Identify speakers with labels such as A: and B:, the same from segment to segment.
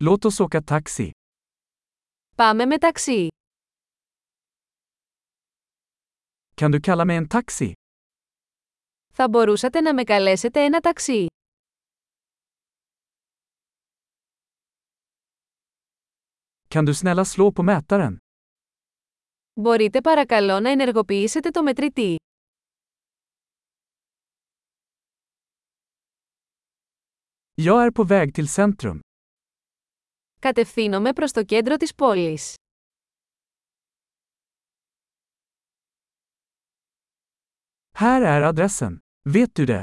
A: Låt oss åka taxi.
B: Πάμε με ταξί.
A: Kan du kalla mig en taxi?
B: Θα μπορούσατε να με καλέσετε ένα ταξί.
A: Kan du snälla slå på mätaren?
B: Μπορείτε παρακαλώ να ενεργοποιήσετε το μετρητή.
A: Jag är på väg till centrum.
B: Κατευθύνομαι προς το κέντρο της πόλης.
A: Här är adressen. Vet du det?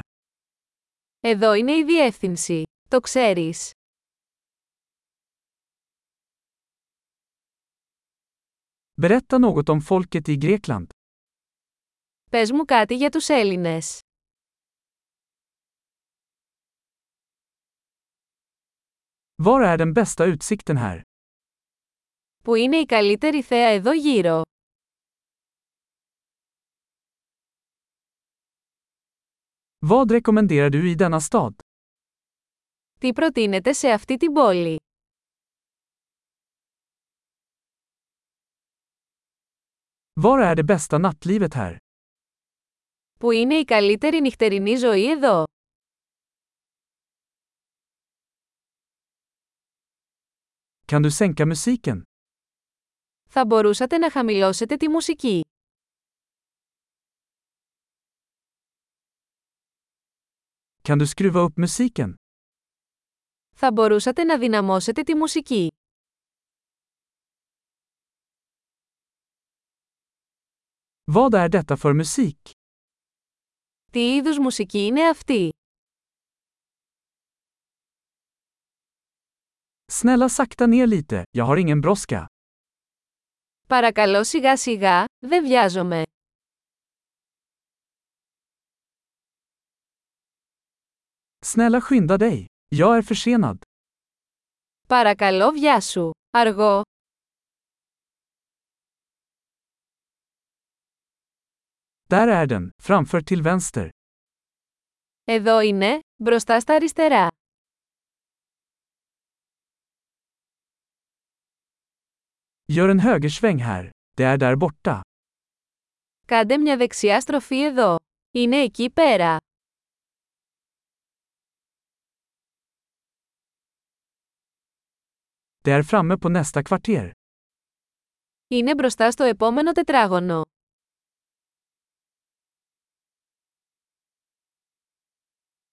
B: Εδώ είναι η διεύθυνση. Το ξέρεις.
A: Berätta något om folket i Grekland.
B: Πες μου κάτι για τους Έλληνες.
A: Var är den bästa utsikten här?
B: Που είναι η καλύτερη θέα εδώ γύρω.
A: Vad rekommenderar du i denna stad?
B: Τι προτείνετε σε αυτή την πόλη.
A: Var är det bästa nattlivet här?
B: Που είναι η καλύτερη νυχτερινή ζωή εδώ.
A: Kan du sänka musiken?
B: Θα μπορούσατε να χαμηλώσετε τη μουσική.
A: Kan du skruva upp musiken?
B: Θα μπορούσατε να δυναμώσετε τη μουσική.
A: Vad är detta för musik?
B: Τι είδους μουσική είναι αυτή.
A: Snälla sakta ner lite, jag har ingen brådska.
B: Παρακαλώ σιγά σιγά, δεν βιάζομαι.
A: Snälla skynda dig. Jag är försenad.
B: Παρακαλώ βιάσου. Αργό.
A: Där är den, framför till vänster.
B: Εδώ είναι, μπροστά στα αριστερά.
A: Gör en högersväng här. Det är där borta.
B: Κάντε μια δεξιά στροφή εδώ. Είναι εκεί πέρα.
A: Det är framme på nästa kvarter.
B: Είναι μπροστά στο επόμενο τετράγωνο.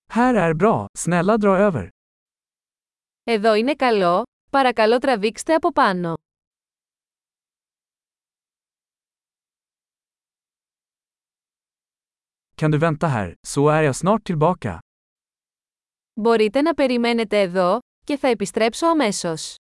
A: Här är bra, snälla dra över.
B: Εδώ είναι καλό, παρακαλώ τραβήξτε από πάνω.
A: Kan du vänta här, så är jag snart tillbaka.
B: Μπορείτε να περιμένετε εδώ, και θα επιστρέψω αμέσως.